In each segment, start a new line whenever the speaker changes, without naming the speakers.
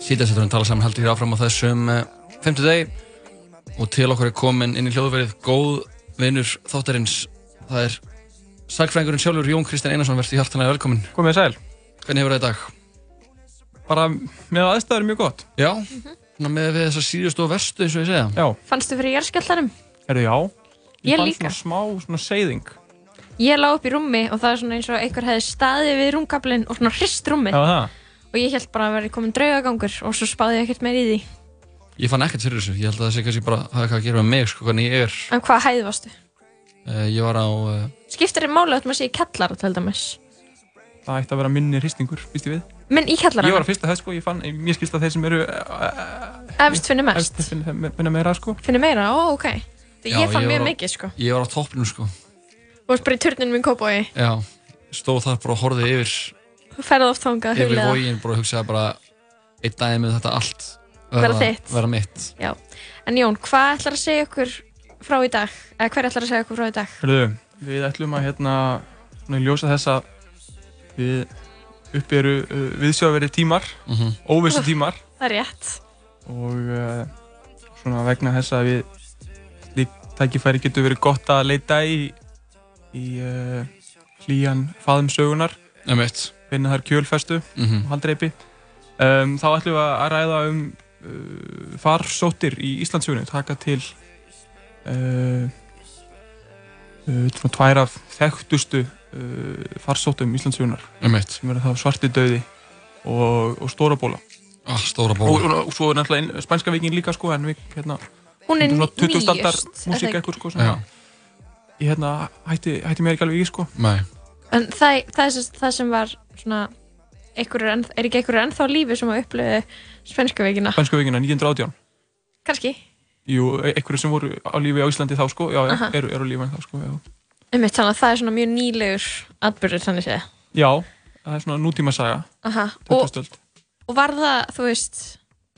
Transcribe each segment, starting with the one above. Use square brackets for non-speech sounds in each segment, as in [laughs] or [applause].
Sítast eftir að tala saman haldið hér áfram á þessum uh, femtu degi og til okkur er komin inn í hljóðverið góð vinur þáttarins það er sagfræðingurinn sjálfur Jón Kristján Einarsson verði hjartanlega velkomin
Komið sæl,
hvernig hefur það í dag?
bara með aðstæður mjög gott.
Já, svona með við þessar síðustu og verstu eins og ég segja
Já,
Fannstu fyrir jarðskjáltanum?
herru, já.
Ég
fann
líka.
Svona smá, svona seyðing.
Ég lá upp í rúmi og það er svona eins og einhver hefði staðið við rúmkablinn og svona hrist rúmi
Já, það.
og ég held bara að verði komin draugagangur og svo spáði ég ekkert meir í því.
Ég fann ekkert fyrir þessu, ég held að það sé kannski bara hafa eitthvað að gera með mig, sko, hvernig ég er
En hvað hæð varstu?
uh, Ég var á, uh,
Skiptir þér máli að maður sé í kellara til dæmis?
Það ætti að vera minni hristingur, býst ég við.
Minn í kellara?
Ég var að fyrsta þess, sko, ég fann, mér skilst að þeir sem eru eftir
Efst finnir mest?
finna meira, sko.
Finnir meira? Ó, ok.
Já,
Já, ég fann
ég
mjög
var á-
mikið sko.
ég var á toppnum, sko
Þú varst bara í turninum í Kópói.
Já, stóð þar bara og horfið yfir
Þú ferði oft þangað að
yfir
huglega.
vógin, bara hugsaði bara einn daginn með þetta allt
Vera þitt.
vera mitt
En Jón, hvað ætlar að segja okkur frá í dag? Eða hver ætlar að segja okkur frá í dag?
Herru, við ætlum að, hérna, svona í ljósa þess að við uppi eru uh, viðsjáverið tímar,
mm
óvissu tímar
Það er rétt.
og uh, svona vegna þess að við slík tækifæri getur verið gott að leita í í uh, hlýjan faðum sögunar,
um mitt
finna þar kjölfestu
mm
og haldreipi um, þá ætlum við að ræða um uh, farsóttir í Íslandsögunni taka til uh, uh, svona tvær af þekktustu uh, farsóttum Íslandsögunar
um mitt
sem verður þá svarti döði og, og stóra bóla
ah, Stóra
og,
bóla
og, og svo er náttúrulega inn- spænska vikin líka sko en við hérna
Hún er
Þetta er
nýjust.
svona 20 aldar
er það
músík
ekki?
ekkur sko sem
Já,
ég hérna hætti, hætti mér ekki alveg í sko
nei
En það, það, er sem, það sem var svona einhver er, enn, er ekki einhverjur ennþá á lífi sem að upplöðu spænsku veikina
Spænska vikina 1918
kannski,
Jú, e- einhverju sem voru á lífi á Íslandi þá sko Já, já,
Aha.
eru, eru á lífi en þá sko Já,
einmitt þannig að það er svona mjög nýlegur atbyrður þannig séð
já það er svona nútíma saga
Aha. og,
20. öld
og var það, þú veist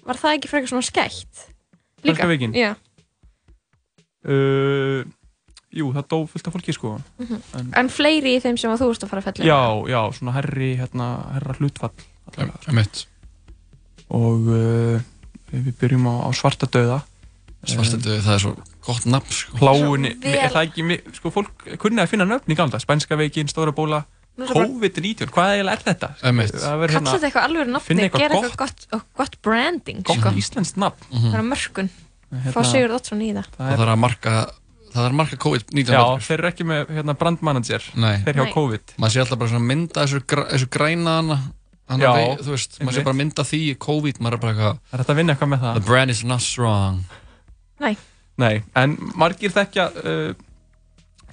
var það ekki frekar svona skætt
Spænska vikin
Já.
uh, Jú, það dó fullt af fólki sko
en fleiri í þeim sem að þú ert að um? fara að fella
Já, já, svona herri, hérna, herra hlutfall allavega.
um mitt
Og uh, við byrjum á, á svarta döða
Svartendöðu, það er svo gott nafn sko.
Pláunni,
Svo vel.
er það ekki, mi- sko, fólk kunni að finna nöfn í gamla, spænska veikin, stóra bóla,
Nú er það bara-
COVID-19, hvað eiginlega er þetta?
Einmitt.
Það verður
kalla
hérna
þetta eitthvað alveg nafni,
finna eitthvað
gera eitthvað gott, og gott branding
gott
sko.
íslenskt nafn.
það er mörkun, fá
Hérna,
Sigurð Ottsson í
það
það
Mhm. Það
er,
þarf að marka Það þarf að marka COVID-19
já,
verður.
þeir eru ekki með hérna, brandmanager,
Nei,
þeir hjá
Nei.
COVID.
maður sé alltaf bara svona mynda þessu, gr- þessu græna hana hana
Já,
vei- Þú veist, maður sé
einmitt.
bara mynda því í COVID maður er bara eitthvað
Það er þetta að vinna eitthvað með
The
það.
brand is not strong
Nei,
Nei, en margir þekkja uh,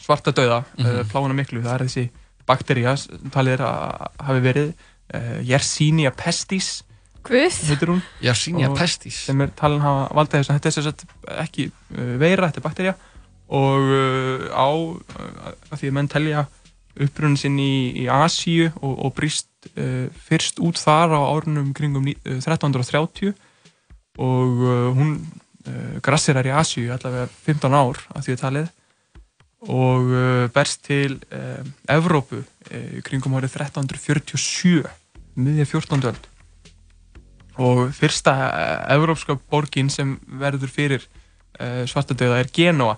svarta dauða, uh,
Mhm.
pláuna miklu, það er þessi baktería, s- talið er að hafi verið, uh, Yersinia pestis,
guð,
heitir hún,
Yersinia
Og-
pestis
sem er talin hafa valda þess að þetta er sem sagt ekki uh, veira, þetta er bakterja og uh, á uh, að því að menn telja uppbrunnin sinn í, í Asíu og, og brist uh, fyrst út þar á árunum kringum ní- uh, 1330 og uh, hún uh, grassirar í Asíu í allavega 15 ár að því að talið og uh, berst til uh, Evrópu uh, kringum árið 1347 miðja 14. öld og fyrsta eh, evrópska borgin sem verður fyrir uh, svartadauða er Genoa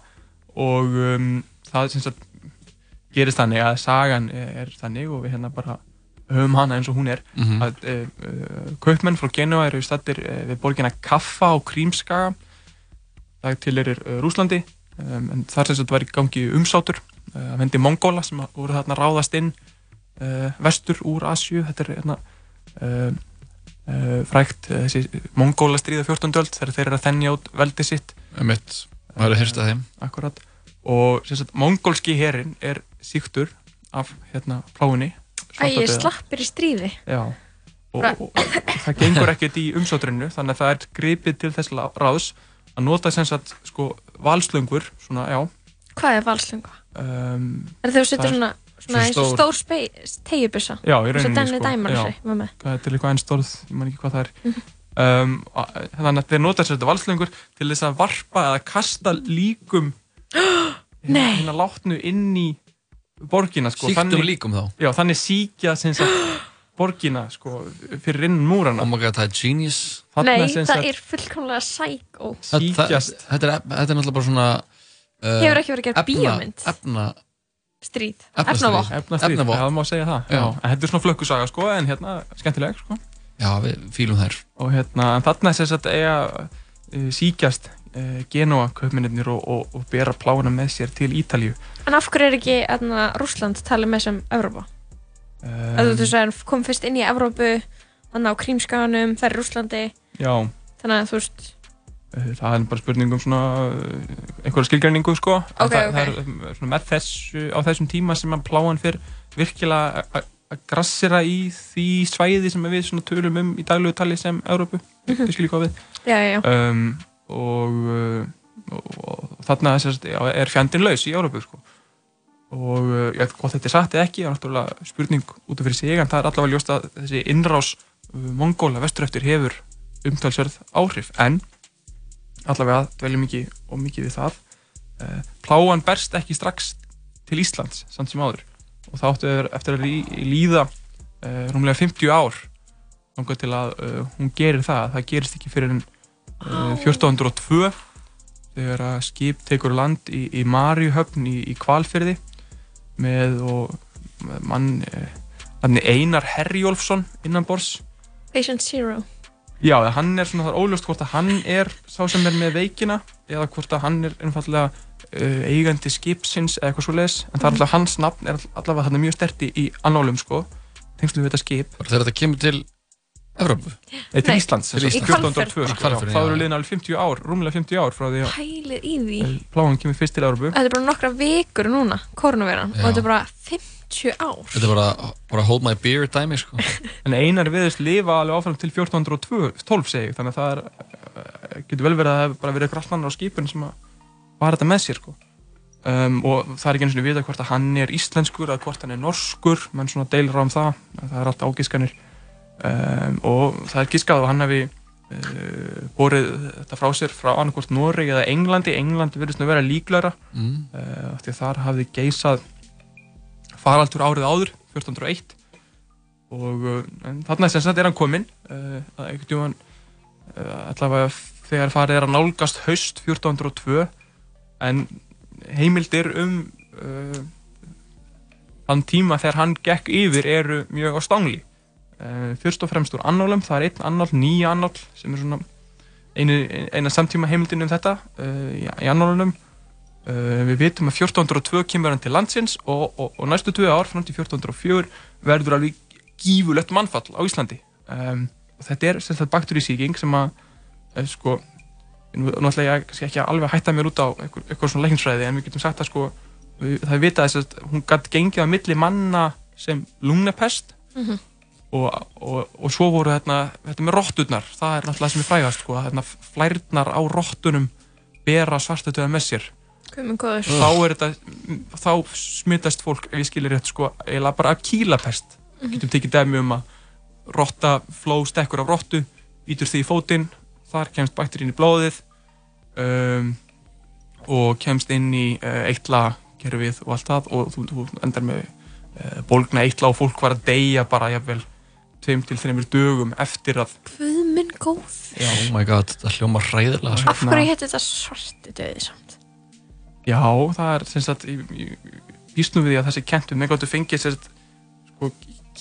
og um, það sem sagt gerist þannig að sagan er þannig og við hérna bara höfum hana eins og hún er
Mhm.
að uh, uh, kaupmenn frá Genoa eru stattir uh, við borgina Kaffa á Krímskaga það til erir uh, Rúslandi um, en þar sem þetta var í gangi umsátur uh, að vendi Mongóla sem að voru þarna ráðast inn uh, vestur úr Asju þetta er hérna uh, uh, frækt uh, þessi Mongóla stríða 14. öld þegar þeir eru að þennja út veldi sitt Eh,
Einmitt, maður er hyrst að þeim
akkurat og sem sagt mongólski herin er síktur af hérna pláinni
að ég
svartadauða.
slappir í stríði
Já, og,
Bara-
og, og það gengur ekkert í umsátrinu þannig að það er gripið til þess lá- ráðs að nota sem sagt sko valslöngur svona, já
Hvað er valslöngu?
um,
Er þegar þú setur
Það er
svona, svona eins og
stór-
stór tegjubissa
já, í
eins og
rauninni sko,
Danny Diamond
já,
sig, var með
hvað er til eitthvað ennstorð, ég man ekki hvað það
Mhm.
er um, að- þannig að þeir nota sem sagt valslöngur til þess að varpa eða kasta líkum hérna
[gasps] Nei.
hérna látnu inn í borgina sko,
Sýktum
þannig,
líkum þá
[gasps]
já, þannig síkja sem sagt borgina sko, fyrir innan
Oh
múrana
my god, það er genius
Þarna
Nei,
sem
það
sagt
er fullkomlega sækó
Það- það-
síkjast
Þetta er, þetta er náttúrulega bara svona uh,
Hefur ekki verið að gera bíómynd
Efna,
Stríð,
Efnastríð.
efnavopn
efnastríð,
efnavopn.
það má segja það
Já.
já. en þetta er svona flökkusaga sko, en hérna, skemmtileg sko.
já, við fílum þær
og hérna, en þarna sem sagt eiga uh, síkjast uh, Genoa kaupmennir og, og, og bera plána með sér til Ítalju
En af hverju er ekki aðna, Rússland talið með sem Evrópa?
um,
Um, þú sagðir, kom fyrst inn í Evrópu þannig á Krímskaganum, það er í Rússlandi
já,
þannig að þú veist,
uh, það er bara spurning um svona uh, einhverja skilgreiningu sko En
Ok,
það,
ok.
það er um, svona með þessu á þessum tíma sem að pláan fyrr virkilega að- að grassera í því svæði sem við svona tölum um í daglegu tali sem Evrópu,
Mhm.
við skiljum hvað við
já, já, já
um, og, uh, og, og þarna sérst, já, er fjandinn laus í Európu sko. og uh, ég veit hvað þetta er satt eða ekki, það er náttúrulega spurning út af fyrir sig en það er allavega ljóst að þessi innrás uh, mongóla vestur eftir hefur umtalsverð áhrif en allavega dveljum ekki og mikið við það uh, pláan berst ekki strax til Íslands samt sem áður og það áttu þeir eftir að lí- líða uh, rúmlega 50 ár þangað til að uh, hún gerir það það gerist ekki fyrir en Eh, 1402 þegar að skip tekur land í, í Marjuhöfn í, í Kvalfyrði með og með mann eh, hann er Einar Herjólfsson innanbors
Patient Zero
já, eða hann er svona það er óljóst hvort að hann er sá sem er með veikina eða hvort að hann er einfallega uh, eigandi skipsins eða eitthvað svo leis en
Mhm.
það er alltaf hans nafn er all- allavega þarna mjög sterti í annálum sko tengslu við þetta skip,
Bara Þegar þetta kemur til Evrópu
eða til
Nei,
Íslands sem
til
sagt,
Íslands.
1402
Í
sko, já,
Hvalfirði,
þá
já.
eru liðin alveg 50 ár, rúmlega 50 ár frá því að
Pælið í því
eh, plágan kemur fyrst til Európu
Þetta er bara nokkra vikur núna, koronaviran
Já.
og þetta er bara 50 ár
Þetta er bara, bara hold my beer dæmi sko.
En einar viðist lifa alveg áfram til 1412 segi ég, þannig að það er, eh, getur vel verið að það hefur bara verið eitthvað allt annar á skipun sem að var þetta með sér sko. Um, og það er ekki eins og vita hvort að hann er íslenskur eða hvort hann er norskur, menn svona deilir á um það, en það er allt ágískanir um, og það er gískað að hann hefði uh, borið þetta frá sér frá annarkvort Noregi eða Englandi, Englandi verðist nú vera líklara
mm.
uh, því að þar hafði geisað faraldur árið áður 1401 og uh, en þarna sem sagt er hann kominn uh, að einhvern tímann uh, allavega þegar farið er að nálgast haust 1402 en heimildir um uh, þann tíma þegar hann gekk yfir eru mjög á stangli uh, fyrst og fremst úr annálum, það er einn annál, nýja annál sem er svona einu, eina samtíma heimildin um þetta uh, í, í annálunum Uh, við vitum að 1402 kemur hann til landsins og, og, og næstu tvö ár fram til 1404 verður alveg gífulegt mannfall á Íslandi um, og þetta er sem sagt bakturísíking sem að eh, sko nú, nú ætla ég að- kannski ekki alveg að hætta mér út á eitthvað, eitthvað svona lækningsfræði en við getum sagt að sko við, það er vitað að sem sagt, hún gætt gengið á milli manna sem lungnapest
Mhm.
og, og, og svo voru þarna, þetta með rotturnar það er náttúrulega það sem er frægast sko, að þarna flærnar á rottunum bera svartutöða með sér
Guðmund góður
þá er þetta þá smittast fólk, ef ég skilir rétt sko, eiginlega bara af kýlapest getum tekið dæmi um að rotta fló stekkur af rottu, býtur því í fótinn þar kemst bakterín í blóðið um, og kemst inn í uh, eitla kerfið og allt það og þú, þú endar með uh, bólgna eitla og fólk var að deyja bara jafnvel tveim til þreimur dögum eftir að
Guðmund góður
Oh my god, þetta hljómar ræðilega sko.
Af
Hérna-
hverju hétt þetta svarti döði samt?
Já, það er sem sagt ég- ég- ég býst nú við því að þessi kentum þeir gáttu fengið sem sagt sko,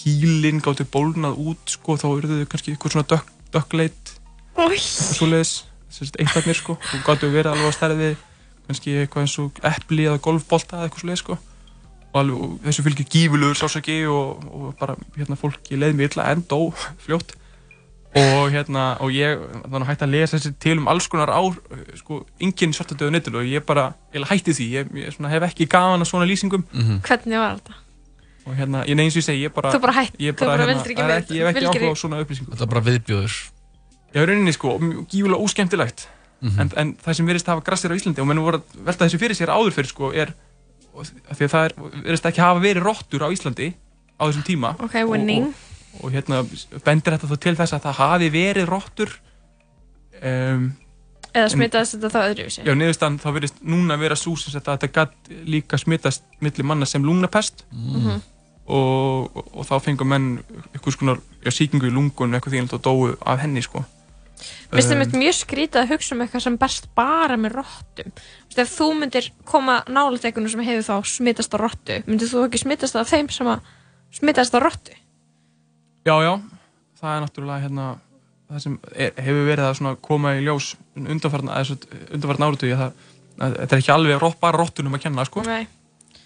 kýlin gáttu bólnað út sko, þá eru þau kannski eitthvað svona dökk, dökkleit
Új,
og svoleiðis, sem sagt eittarnir sko og gáttu verið alveg á stærði kannski eitthvað eins og epli eða golfbolta eða eitthvað svoleiðis sko og, alveg, og þessu fylgir gífulugur sásaki og, og bara hérna fólki leið mér illa en dó fljótt og hérna og ég þannig hætti að lesa þessi til um alls konar ár sko, enginn svartadöðu nettil og ég bara ég hætti því, ég, ég svona, hef ekki gaman að svona lýsingum
mm
hvernig var þetta?
og hérna, ég neins ég segi, ég bara
Þú bara hætt,
ég
þú bara
hérna,
vildir ekki
það er
með-
ekki, ég hef ekki
vildir
áhuga á
ekki-
svona upplýsingum
Þetta er bara viðbjóður
Já, í rauninni sko, mjög gífulega óskemmtilegt
mm
en, en það sem verist að hafa grassir á Íslandi og menn voru að velta þessu fyrir sér áður fyrir sko er, og þ- af því að það er, verist ekki hafa verið rottur á Íslandi á þessum tíma
Ok, winning
og hérna bendir þetta þá til þess að það hafi verið rottur um,
Eða smitaðist þetta þá öðruvísi?
já, niðurstaðan þá verist núna vera svo sem sagt að þetta gatt líka smitast milli manna sem lungnapest
mm.
Mhm.
og, og, og þá fengur menn einhvers konar já, sýkingu í lungun eitthvað því að dóu af henni sko.
Mér finnst
Um,
þetta mjög skrítið að hugsa um eitthvað sem berst bara með rottum. Þú veist, ef þú myndir koma nálægt eitthvað sem hefur þá smitast á rottu, myndir þú ekki smitast af þeim sem að smitast á rottu?
Já, já, það er náttúrulega hérna, það sem er, hefur verið að svona koma í ljós undanfarna, undanfarna áratugi að það að þetta er ekki alveg rott, bara rottunum að kenna sko.
Nei.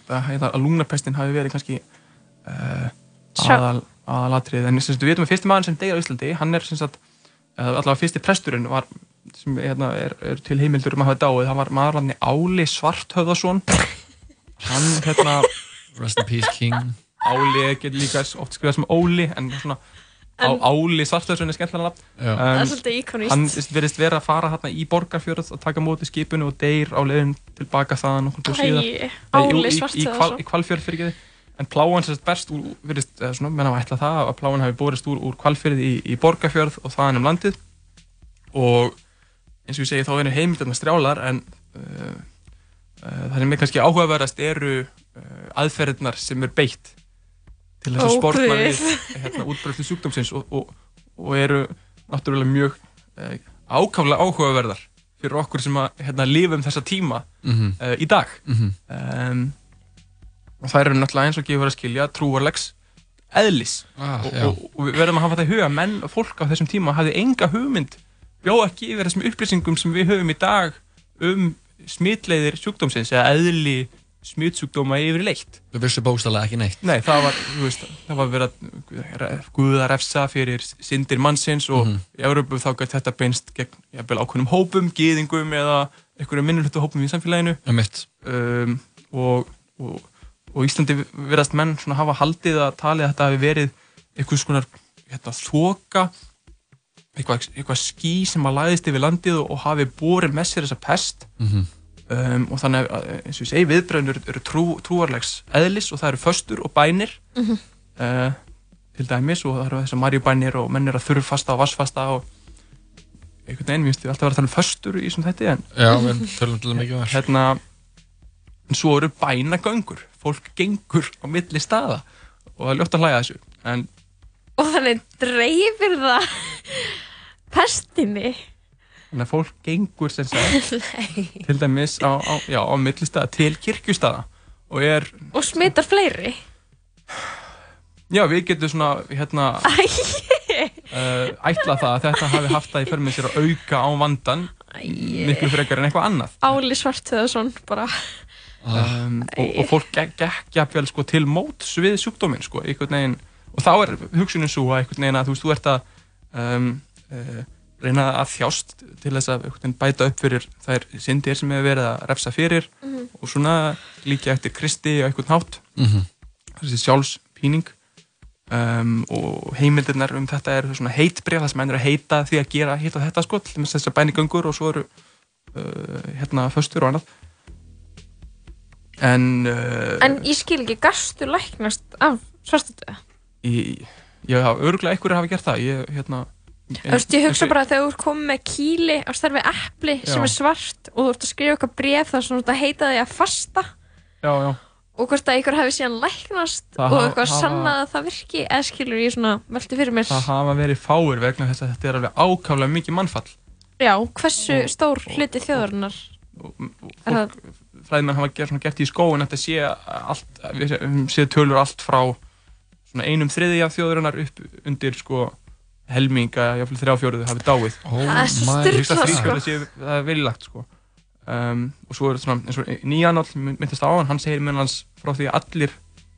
það, það, að lungnapestin hafi verið kannski uh,
Sjá.
aðal, aðalatrið en sem sagt, við veitum að fyrsti maður sem deyr á Íslandi hann er sem sagt, eða allavega fyrsti presturinn var, sem hérna, er, er til heimildur um að hafa dáið, hann var maðurlarni Áli Svarthöðason hann hérna,
Rest in peace king
Áli getur líka oft skrifað sem Óli en svona Á,
En-
Áli Svarthöðason er skemmtilega nafn
Já,
um,
Það er svolítið
hann
íkonist.
verðist vera að fara hérna í borgarfjörð og taka á móti skipinu og deyr á leiðin tilbaka þaðan og hún til síðan
Æ,
Nei, jú,
áli
í-
svart
í, kval, í Hvalfjörð fyrir ekki en pláan sérst berst úr, virðist, eða svona, menna að ætla það að pláan hafi borist úr, úr Hvalfjörð í, í Borgarfjörð og þaðan um landið og eins og ég segi þá er heimildarnar strjálar en uh, uh, það sem er kannski áhugaverðast eru uh, aðferðirnar sem er beitt til þess að
Ó,
sportna
guð.
við hérna, útbreyslu sjúkdómsins og, og, og eru náttúrulega mjög uh, ákaflega áhugaverðar fyrir okkur sem að hérna, lifum þessa tíma
mhm,
uh, í dag
mhm
um, og það eru náttúrulega eins og gefur að skilja trúarlegs eðlis
Ah,
og,
já.
og, og við verðum að hafa það í huga menn og fólk á þessum tíma hafði enga hugmynd bjó ekki yfir þessum upplýsingum sem við höfum í dag um smitleiðir sjúkdómsins eða eðli smitsjúkdóma yfir leitt
Við vissu bókstallega ekki neitt
Nei, það var, þú veist, það var verið að guða refsa fyrir syndir mannsins og
Mhm.
í Európu þá gæti þetta beinst gegn jafnvel ákveðnum hópum, gýðingum eða einhverjum minnulötu hópum í samfélaginu
Um mitt
um, og, og, og Íslandi verðast menn svona hafa haldið að talið að þetta hafi verið einhvers konar hérna, þoka eitthvað, eitthvað ský sem að læðist yfir landið og, og hafi borið með sér þessa pest
Mhm.
um, og þannig að eins og ég segi viðbröðnur eru trú, trúarlegs eðlis og það eru föstur og bænir uh, til dæmis og það eru þessar marjubænir og menn eru að þurrfasta og vassfasta og einhvern veginn, mér finnst ég alltaf að vera að tala um föstur í svona þetta en
Já, við tölum til það mikið um það
hérna en svo eru bænagöngur fólk gengur á milli staða og það er ljótt að hlæja að þessu en
[laughs] Og þannig dreifir það pestinni.
[laughs] þannig að fólk gengur sem
[laughs]
sagt til dæmis á, á, já, á milli staða til kirkjustaða og er,
Og smitar fleiri.
já við getum svona hérna
Æ,
uh, ætla það að þetta hafi haft það í för með sér að auka á vandan miklu frekar en eitthvað annað
áli svart bara.
ah,
um, og, og fólk gekk, gekk jafnvel sko, til móts við sjúkdóminn sko, einhvern veginn, og þá er hugsunin svo að einhvern veginn að þú veist, þú ert að um, uh, reyna að þjást til þess að einhvern veginn bæta upp fyrir þær syndir sem hefur verið að refsa fyrir og svona líka eftir Kristi og einhvern hátt
mhm.
þessi sjálfspíning um, og heimildirnar um þetta eru svona heitbref það sem menn eru að heita því að gera hitt og þetta sko til þess að bænigöngur og svo eru uh, hérna föstur og annað en, uh,
En ég skil ekki, gastu læknast af svartatöða?
í, já, já, örgulega einhverjir hafa gert það ég, hérna
Þú veist, ég hugsa bara að þegar þú ert komið með kýli á starfi epli sem
Já.
er svart og þú ert að skrifa eitthvað bref þar sem þú ert að heita því að fasta
já, já,
og hvort að einhver hafi síðan læknast
Það
og
hafa-
eitthvað
hafa-
sannað að það virki eða skilur ég svona, velti fyrir mér
það hafa verið fáir vegna þess að þetta er alveg ákaflega mikið mannfall
já, hversu
Og-
stór hluti þjóðarinnar
og, og
er
fólk
það
fræðimenn hafa gert, svona, gert í skóin að þetta sé, allt, við sé tölur allt frá svona einum þriði af þjóðurinnar upp undir sko helminga, jáfnvel þrjá fjóruðu hafi dáið
Oh
Það er svo
my-
sturlað,
Ríksta
sko.
þrískjöld.
það sé það er velilagt sko um, og svo er svona eins og nýjanáll myndist á hann, hann segir meðan hans frá því að allir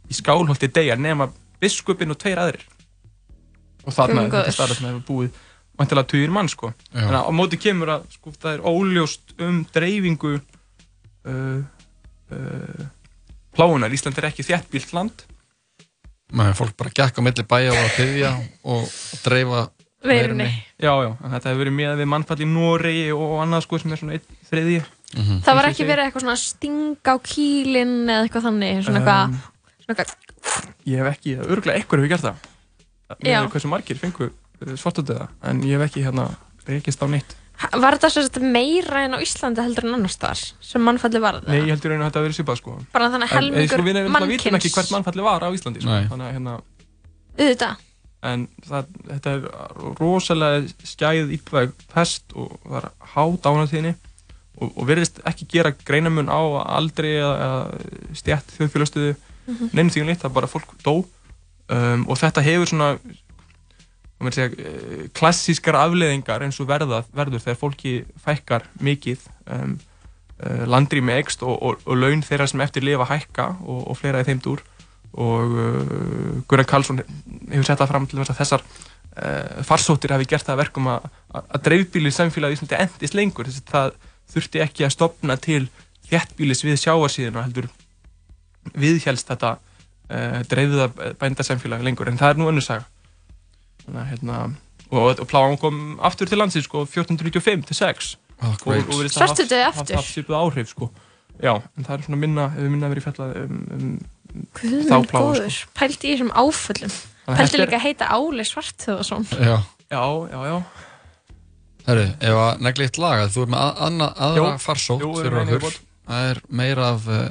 í skálholti deyja nema biskupin og tveir aðrir og þarna
Guð minn
er þetta
góður.
staðar sem hefur búið vantilega tugir mann sko
Já.
þannig að á móti kemur að sko, það er óljóst um dreifingu uh, uh, pláunar, Ísland er ekki þjættbílt land
Nei, fólk bara gekk á milli bæja og að tyðja og að dreifa
veirunni
já, já, en þetta hefur verið með við mannfall í Noregi og annað sko sem er svona einn þriði
Mhm.
það
Eins og ég
var ekki
segi.
verið eitthvað svona að stinga á kýlin eða eitthvað þannig svona eitthvað,
Um,
svona eitthvað
ég hef ekki, örgulega einhver hefur gert það uh,
Já.
með hversu margir fengu svartadöða en ég hef ekki hérna reykist á neitt
Var þetta sem sagt meira en á Íslandi heldur en annars þar sem mannfalli var það?
Nei, ég heldur einu að þetta hafi verið svipað sko.
Bara þannig að
En- en, sko,
helmingur
við nefnilega vitum ekki
mannkyns
hvert mannfallið var á Íslandi sko.
Nei.
þannig að hérna
auðvitað.
en það, þetta er rosalega skæð íbæð pest og það er há dánatíðinni og, og virðist ekki gera greinamun á aldrei eða, eða stjætt þjóðfélagstöðu mm -hmm. nefnum því um það er bara fólk dó um, og þetta hefur svona hvað maður segja, eh, klassískar afleðingar eins og verða, verður þegar fólki fækkar mikið um, uh, landrými ekst og, og, og laun þeirra sem eftir lifa hækka og, og fleira í þeim dúr og uh, Gurra Karlsson hefur sett það fram til þess að þessar uh, farsóttir hafi gert það að verkum að, að dreifbílið samfélagi í Íslandi endist lengur þess að það þurfti ekki að stopna til þjættbílis við sjáarsíðina heldur viðhjálst þetta uh, dreifða bændasamfélagi lengur en það er nú önnur saga Þannig, að, hérna, og, og pláan kom aftur til landsins sko 1495 til 6
Oh,
og,
great.
og virðist það haft-
Svartidauði
haft-
aftur.
haft svipuð áhrif sko já, en það er svona minna, hefur minna verið fjallað um, um,
Guð
Þá
minn
plágu, sko.
góður, pældi í þessum áföllum.
þannig að þetta
Pældi
er-
líka að heita Áli Svartöðarsson.
Já,
Já, já, já.
herru, ef að negli eitt lag að þú er með að, anna, aðra
Jó.
farsótt
Jú,
fyrir
nei, nei,
okkur
bót.
það er meira af uh,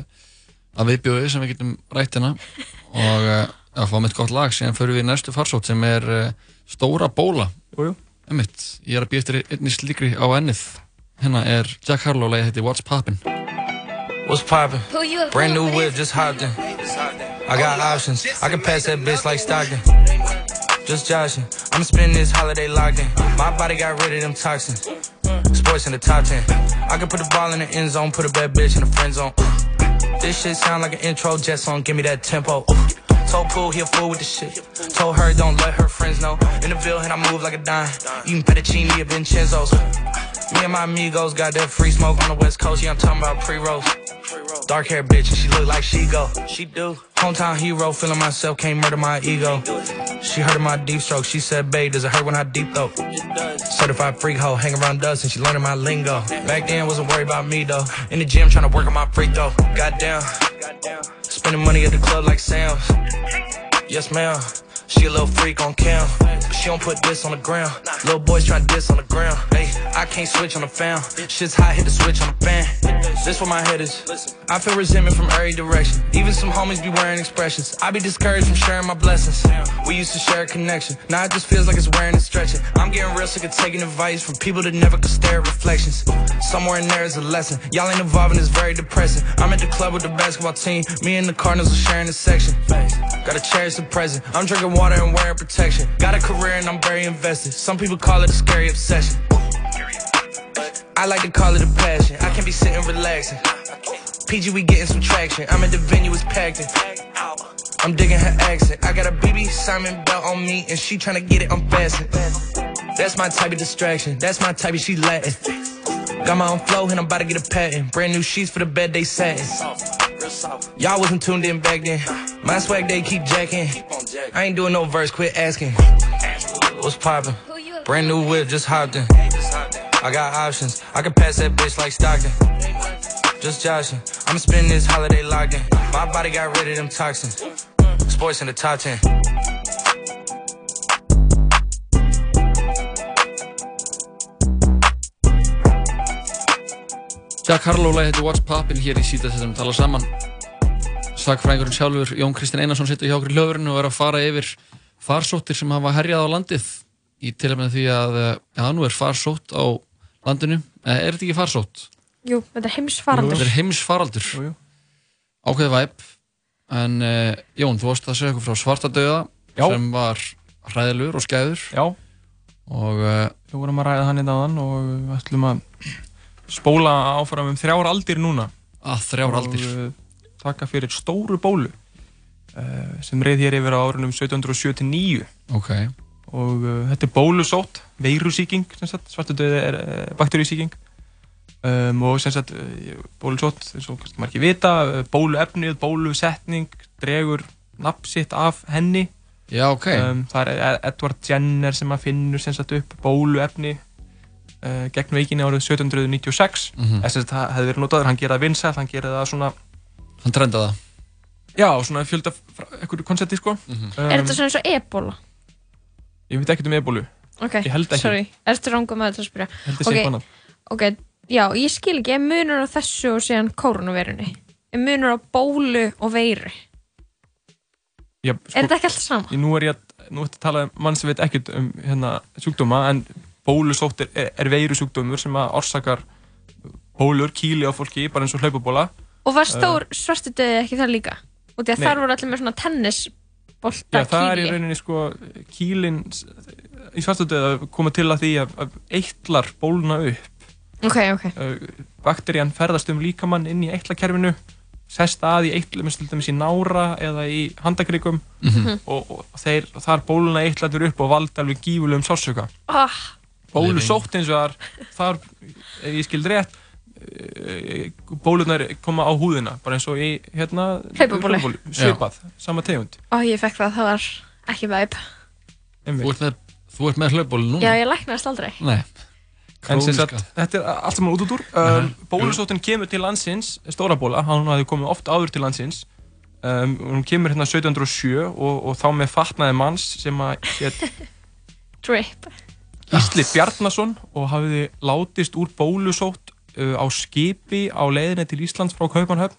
að viðbjóði sem við getum rætt hérna og uh, að fá mitt gott lag síðan förum við í næstu farsótt sem er uh, Stóra Bóla
Jú, jú.
Einmitt, ég er að býja eftir einnig slíkri á ennið hérna er Jack Harlow leiði heiti What's Poppin
What's poppin'?
Pull you up,
Brand
pull
new
up,
whip, just hopped in. I got options. I can pass that bitch like Stockton. Just joshing. I'm spending this holiday locked in. My body got rid of them toxins. Sports in the top 10. I can put the ball in the end zone, put a bad bitch in the friend zone. This shit sound like an intro jet song, give me that tempo. Told Pool he a fool with the shit. Told her don't let her friends know. In the Ville and I move like a dime. Eating fettuccine at Vincenzo's. Me and my amigos got that free smoke on the west coast. Yeah, I'm talking about pre-rolls. Dark hair bitch, and she look like she go. She do. Hometown hero, feeling myself, can't murder my ego. She heard of my deep stroke. She said, babe, does it hurt when I deep throw? Certified freak hoe, hang around us and she learning my lingo. Back then wasn't worried about me though. In the gym trying to work on my free throw. Goddamn. Spending money at the club like Sam's. Yes, ma'am. She a little freak on cam, but she don't put this on the ground. Little boys tryna diss on the ground. Hey, I can't switch on the fan. Shit's hot, hit the switch on the fan. This where my head is. I feel resentment from every direction. Even some homies be wearing expressions. I be discouraged from sharing my blessings. We used to share a connection. Now it just feels like it's wearing and stretching. I'm getting real sick of taking advice from people that never could stare at reflections. Somewhere in there is a lesson. Y'all ain't evolving, it's very depressing. I'm at the club with the basketball team. Me and the Cardinals are sharing a section. Gotta cherish the present. I'm drinking water and wearing protection. Got a career and I'm very invested. Some people call it a scary obsession. I like to call it a passion. I can be sitting relaxing. PG, we getting some traction. I'm at the venue, it's packed in. I'm digging her accent. I got a BB Simon belt on me, and she tryna get it unfastened. That's my type of distraction. That's my type of she Latin. Got my own flow, and I'm about to get a patent. Brand new sheets for the bed they satin. Y'all wasn't tuned in back then. My swag they keep jacking. I ain't doing no verse, quit asking. What's poppin'?
pull you up.
Brand new whip, just hopped in. I got options. I can pass that bitch like Stockton. Just joshing. I'm spending this holiday locked in. My body got rid of them toxins. Sports in the top 10.
Jack Harlow leiði heiti What's Poppin hér í síta sem tala saman Sakfræðingurinn sjálfur Jón Kristinn Einarsson sittur hjá okkur í löfurinn og er að fara yfir farsóttir sem hafa herjað á landið í tilhæmna því að eh, já, nú er farsótt á landinu Eh, er þetta ekki farsótt?
Jú, þetta er
Þetta
heimsfaraldur.
er heimsfaraldur
Jú, jú.
ákveðið væp en uh, Jón, þú varst að segja okkur frá svartadauða
Já.
sem var hræðilur og skæður
já,
og uh,
við vorum að ræða hann einn áðan og við ætlum að spóla áfram um þrjár aldir núna
að þrjár aldir
og uh, taka fyrir stóru bólu uh, sem reið hér yfir á árunum 1779
ok,
og uh, þetta er bólusótt, veirusíking sem sagt, svartudauði er uh, bakteríusíking um, og sem sagt uh, bólusótt, eins og kannski margir vita uh, bóluefnið, bólusetning dregur nafn sitt af henni
já ok
um, það er Ed- Edward Jenner sem að finnur sem sagt upp bóluefni uh, gegn veikinni árið 1796 mm
Mhm.
-hmm. þess að það hefði verið notaður, hann geraði vinsæl hann geraði það svona,
hann trendaði það
já, svona fjölda einhverju koncepti sko
Mhm.
um,
Er þetta svona eins og ebola?
ég veit ekkert um ebólu
ok,
Ég held ekki.
sorry, ertu rangum að þetta að spyrja
Held ég sé
Ok.
eitthvað annað.
ok, já, ég skil ekki, ég munur á þessu og síðan koronaveirunni ég munur á bólu og veiru
Já,
er
sko,
þetta ekki allt saman?
ég- Nú er ég að, nú ertu að tala um mann sem veit ekkert um hérna, sjúkdóma en bólusótt er, er, er veiru sjúkdómur sem að orsakar bólur, kýli á fólki, bara eins og hlaupabóla
og var stór uh, svartu döði ekki það líka? og því að
Nei.
þar voru allir með svona tennisbolta
Já, það er í rauninni sko kýlin s- í svartadöða koma til að því að, að eitlar bólna upp
ok, ok,
Uh, bakterían ferðast um líkamann inn í eitlakerfinu sest að í eitlum til dæmis í nára eða í handakrikum
Mhm.
og, og þeir, þar bóluna eitlatur upp og valda alveg gífulegum sásöka
ah,
bólu
Living.
sótt eins og þar, ef ég skild rétt eh, bólunar koma á húðina bara eins og í hérna
Hlaupabólu.
hlaupabólu, svipað, sama tegund
ó, ah, ég fekk það, það var ekki væp
Þú
einmitt.
ert með, þú ert með hlaupból
Mm.
núna?
já, ég læknaðist aldrei
Nei.
en sem
Króniska.
sagt, þetta er allt saman út út úr um, bólusóttin kemur til landsins stóra bóla, hann hafði komið oft áður til landsins um, og hún kemur hérna 1707 og, og þá með fatnaði manns sem að hét
drip,
Gísli Bjarnason og hafði látist úr bólusótt uh, á skipi á leiðinni til Íslands frá Kaupanhöfn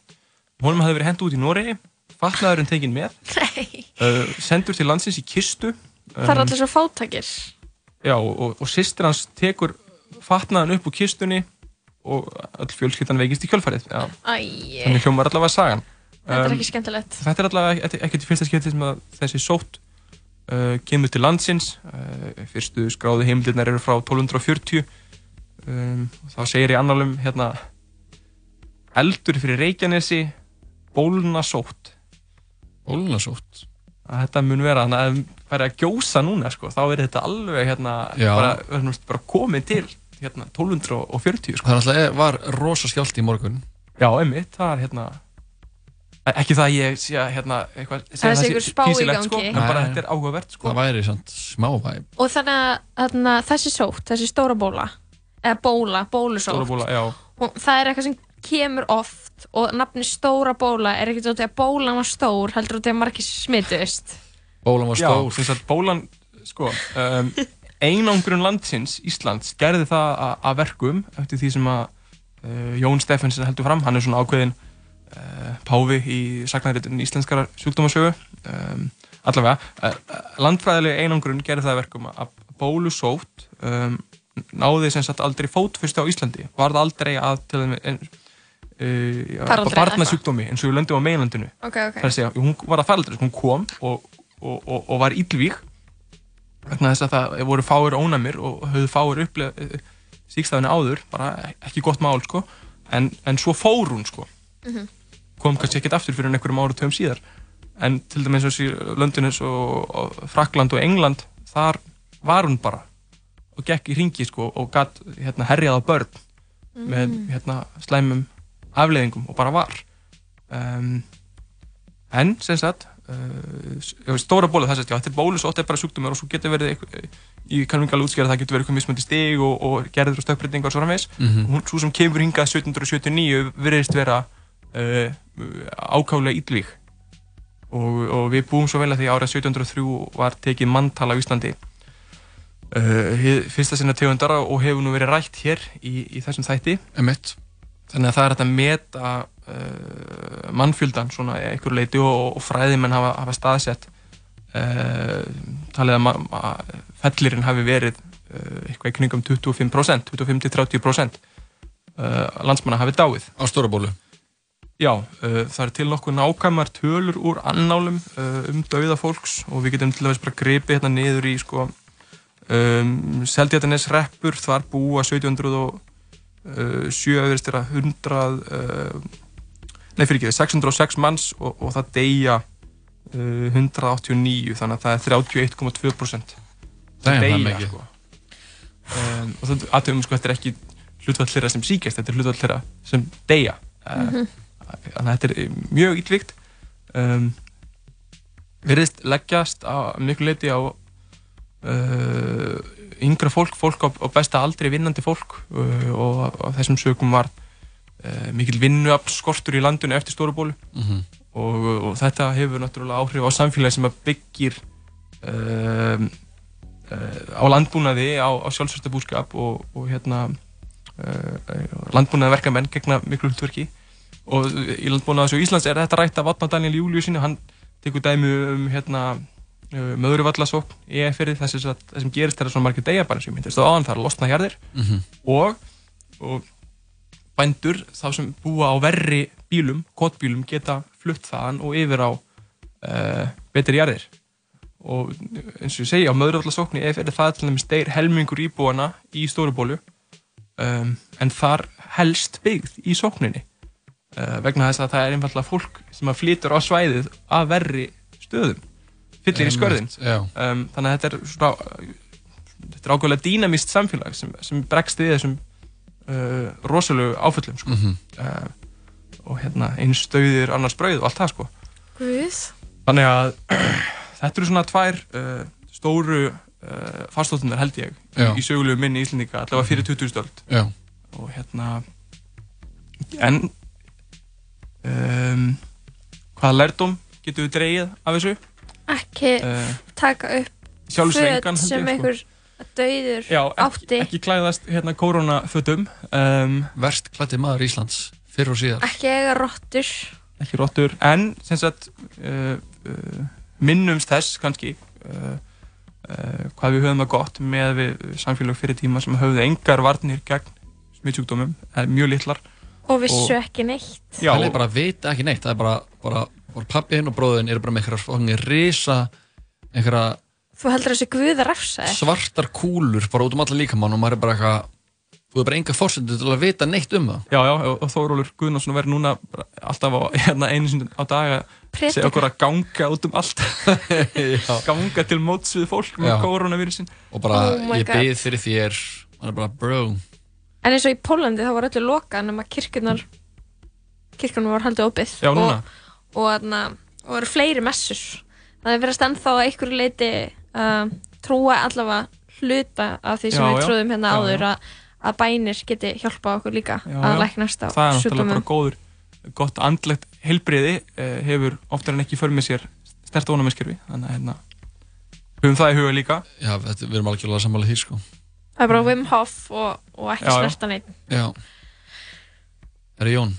honum hafði verið hendt út í Noregi fatnaðurinn tekin með
nei
uh, sendur til landsins í kistu
það
Um,
er allir svo fátakir
Já, og, og sýstir hans tekur fatnaðan upp úr kistunni og öll fjölskyldan veikist í kjölfarið. Já,
æj,
þannig hljómar allavega sagan.
þetta er
Um,
ekki skemmtilegt
Þetta er allavega ekki- ekkert í fyrsta skipti sem að þessi sótt uh, kemur til landsins. Uh, fyrstu skráðu heimildirnar eru frá 1240. Um, og þá segir í annalum hérna eldur fyrir Reykjanesi bólna sótt.
Bólunasótt.
að þetta mun vera þannig að ef færi að gjósa núna sko, þá er þetta alveg hérna,
Já.
bara, hérna, bara komið til hérna, 1240 sko.
Það náttúrulega er- var rosa skjálti í morgun.
já, einmitt, það er hérna e, ekki það að ég sé að hérna, eitthvað, sé
Það
að
sé einhver spá í
fýsilegt, sko,
gangi.
en bara
Nei.
þetta er áhugavert sko.
Það væri samt smávæg.
og þannig að þarna, þessi sótt, þessi stóra bóla eða bóla, bólusótt
Stóra bóla, já,
og það er eitthvað sem kemur oft og nafni stóra bóla er ekkert út í að bólan var stór heldur út í að margir smittuðist
Bólan var
já
stór.
sem sagt bólan sko, um, einangrun landsins Íslands gerði það að- að verkum eftir því sem að uh, Jón Steffensen heldur fram, hann er svona ákveðin uh, páfi í saknaritun íslenskara sjúkdómasögu um, allavega, uh, landfræðilega einangrun gerði það að verkum að bólusótt um, náði sem sagt aldrei fótfyrst á Íslandi varð aldrei að til þeim uh,
Faraldri eða
barnasjúkdómi eins og við löndum á meilandinu
ok, ok,
það er að segja, hún var að faraldri hún kom og, og, og, og var illvíg vegna þess að það voru fáir ónæmir og höfðu fáir upplega síkstafinu áður, bara ekki gott mál sko, en, en svo fór hún sko kom kannski ekkert aftur fyrir einhverjum ára töm síðar en til dæmis eins og í London eins og, og Frakland og England þar var hún bara og gekk í ringi sko og gatt hérna, herjað á börn með hérna, slæmum afleiðingum og bara var um, en sem sagt uh, s- já, stóra bóla það sem sagt, já, þetta er bólusótt er bara sjúkdómur og svo getur verið eitthvað, ég kannum ekki alveg útskýra það getur verið eitthvað mismöndi stig og, og gerður og stökkbreytingar og svo framvegis og hún svo sem kemur hingað 1779 virðist vera uh, ákálega illvíg og, og við búum svo vel að því árið 1703 var tekið manntala á Íslandi uh, hið- fyrsta sinna tegundara og hefur nú verið rætt hér í, í þessum þætti
Emmett.
þannig að það er hægt að meta uh, mannfjöldan svona í einhverju leiti og, og fræðimenn hafa, hafa staðsett uh, talið að ma- ma- fellirinn hafi verið uh, eitthvað í kringum 25% 25-30% uh, landsmanna hafi dáið
Á stóra bólu.
Já, uh, það er til nokkuð nákvæmar tölur úr annálum uh, um dauða fólks og við getum til dæmis bara gripið hérna niður í sko um, Seldjætanes reppur, þar búa 1700 og uh, 7 öðrist er að 100 uh, nei fyrir ekki, 606 manns og, og það deyja uh, 189, þannig að það er 31,2%
Það er það
deyja
mikið.
sko. um, og það aðtöfum sko þetta er ekki hlutvall þeirra sem síkast, þetta er hlutvall þeirra sem deyja uh, þannig að þetta er eh, mjög ítvikt um, virðist leggjast á miklu leiti á uh, yngra fólk, fólk á, á besta aldri vinnandi fólk uh, og á- á þessum sögum var uh, mikil vinnuafl í landinu eftir stórubólu
Mhm.
og, og þetta hefur náttúrulega áhrif á samfélagi sem að byggir um, á landbúnaði, á, á sjálfsvörsta búskap og, og hérna uh, landbúnaðverkamenn gegna miklu hlutverki og í landbúnaðs og Íslands er þetta rætt af Vatna Daniel Júliusin og hann tekur dæmi um hérna möðurvallasókn í eferið það sem, það sem gerist þegar svona margir degjarbæri sem ég myndist á áðan það er að losna hérðir og, og bændur þá sem búa á verri bílum, kottbílum geta flutt þaðan og yfir á uh, betri jarðir og eins og ég segi á möðurvallasókn í eferið það er til dæmis deyr helmingur íbúana í Stórubólu um, en þar helst byggð í sókninni uh, vegna þess að það er einfallega fólk sem að flytur á svæðið að verri stöðum fyllir í skörðin
Já,
um, þannig að þetta er svona, þetta er ákveðlega dýnamist samfélag sem, sem bregst við þessum uh, rosalegu áföllum sko.
Mhm.
uh, og hérna eins stöðir annars brauð og allt það sko.
Guð
þannig að [clears throat] þetta eru svona tvær uh, stóru uh, fastóttunar held ég
Já.
í, í sögulegu minni Íslendinga allavega fyrir 20. öld
já,
og hérna en um, hvaða lærdóm getum við dreigið af þessu
Ekki
uh,
taka upp
sjálfsvengan
föt sem einhver döður
sko. Já,
átti.
ekki, ekki klæðast hérna koronafötum um,
verst klætti maður Íslands fyrr og síðar
Ekki eiga rottur
ekki rottur en sem sagt uh, uh, minnumst þess kannski uh, uh, hvað við höfum það gott með við samfélag fyrir tíma sem höfðu engar varnir gegn smittsjúkdómum, það er mjög litlar
og vissu ekki neitt.
Já,
Það er bara að vita ekki neitt Það er bara, bara, bara pappiðinn og bróðinn eru bara með einhverja fangir risa einhverja
Þú heldur þessi guð að refsa þér?
svartar kúlur bara út um alla líkamann og maður er bara eitthvað þú er bara enga fórsendur til að vita neitt um það
já, já, og og Þórólur Guðnarsson verður núna bara alltaf á, hérna, einu sinni á daga segja
Predika.
okkur að ganga út um
[laughs]
allt ganga til móts við fólk
Já.
með koronavírusin
og bara
Oh my
ég
God.
byð fyrir þér maður er bara bro
En eins og í Pólandi þá var öllu lokað nema kirkjurnar, kirkjurnar var haldið opið.
Já, núna.
Og, og, þarna, og eru fleiri messur. Það er verið að ennþá að einhverju leiti uh, trúa allavega hluta af því
Já,
sem við
já.
trúðum hérna
Já,
áður
já.
að, að bænir geti hjálpað okkur líka
Já,
að
já.
læknast á
það er náttúrulega bara
sjúkdómum.
góður gott andlegt heilbriði eh, hefur oftar en ekki för með sér stert ónæmiskerfi þannig að hérna höfum það í huga líka
já, þetta, við erum algjörlega sammála því sko
Það er bara Wim Hof og, og ekki
Já, já.
snerta neitt.
já Herri Jón,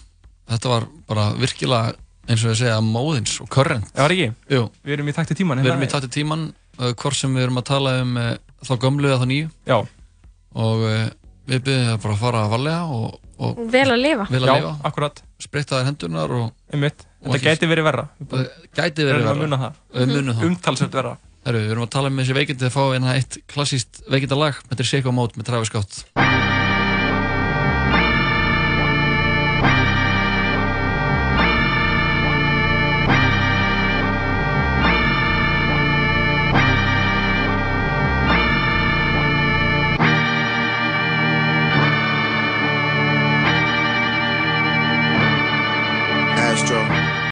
þetta var bara virkilega eins og ég segja móðins og current
eða var ekki,
Jú,
við erum í takt í hérna. tíman
við erum í tatti tíman uh, hvort sem við erum að tala um uh, þá gömlu eða þá nýju
já,
og uh, við byrjum bara að fara að valega og, og
Og vel að lifa.
vel að
já,
lifa
akkurat,
spritta þær hendurnar og
einmitt
Og
þetta
ekki-
gæti verið verra, við
það
bara
gæti verið
erum
verra.
að muna Mhm. það
Við munum það
umtalsvert verra
Herru, við erum að tala um þessi veikindi að fá eina eitt klassíst veikindalag, þetta er Shake on Mode með Travis Scott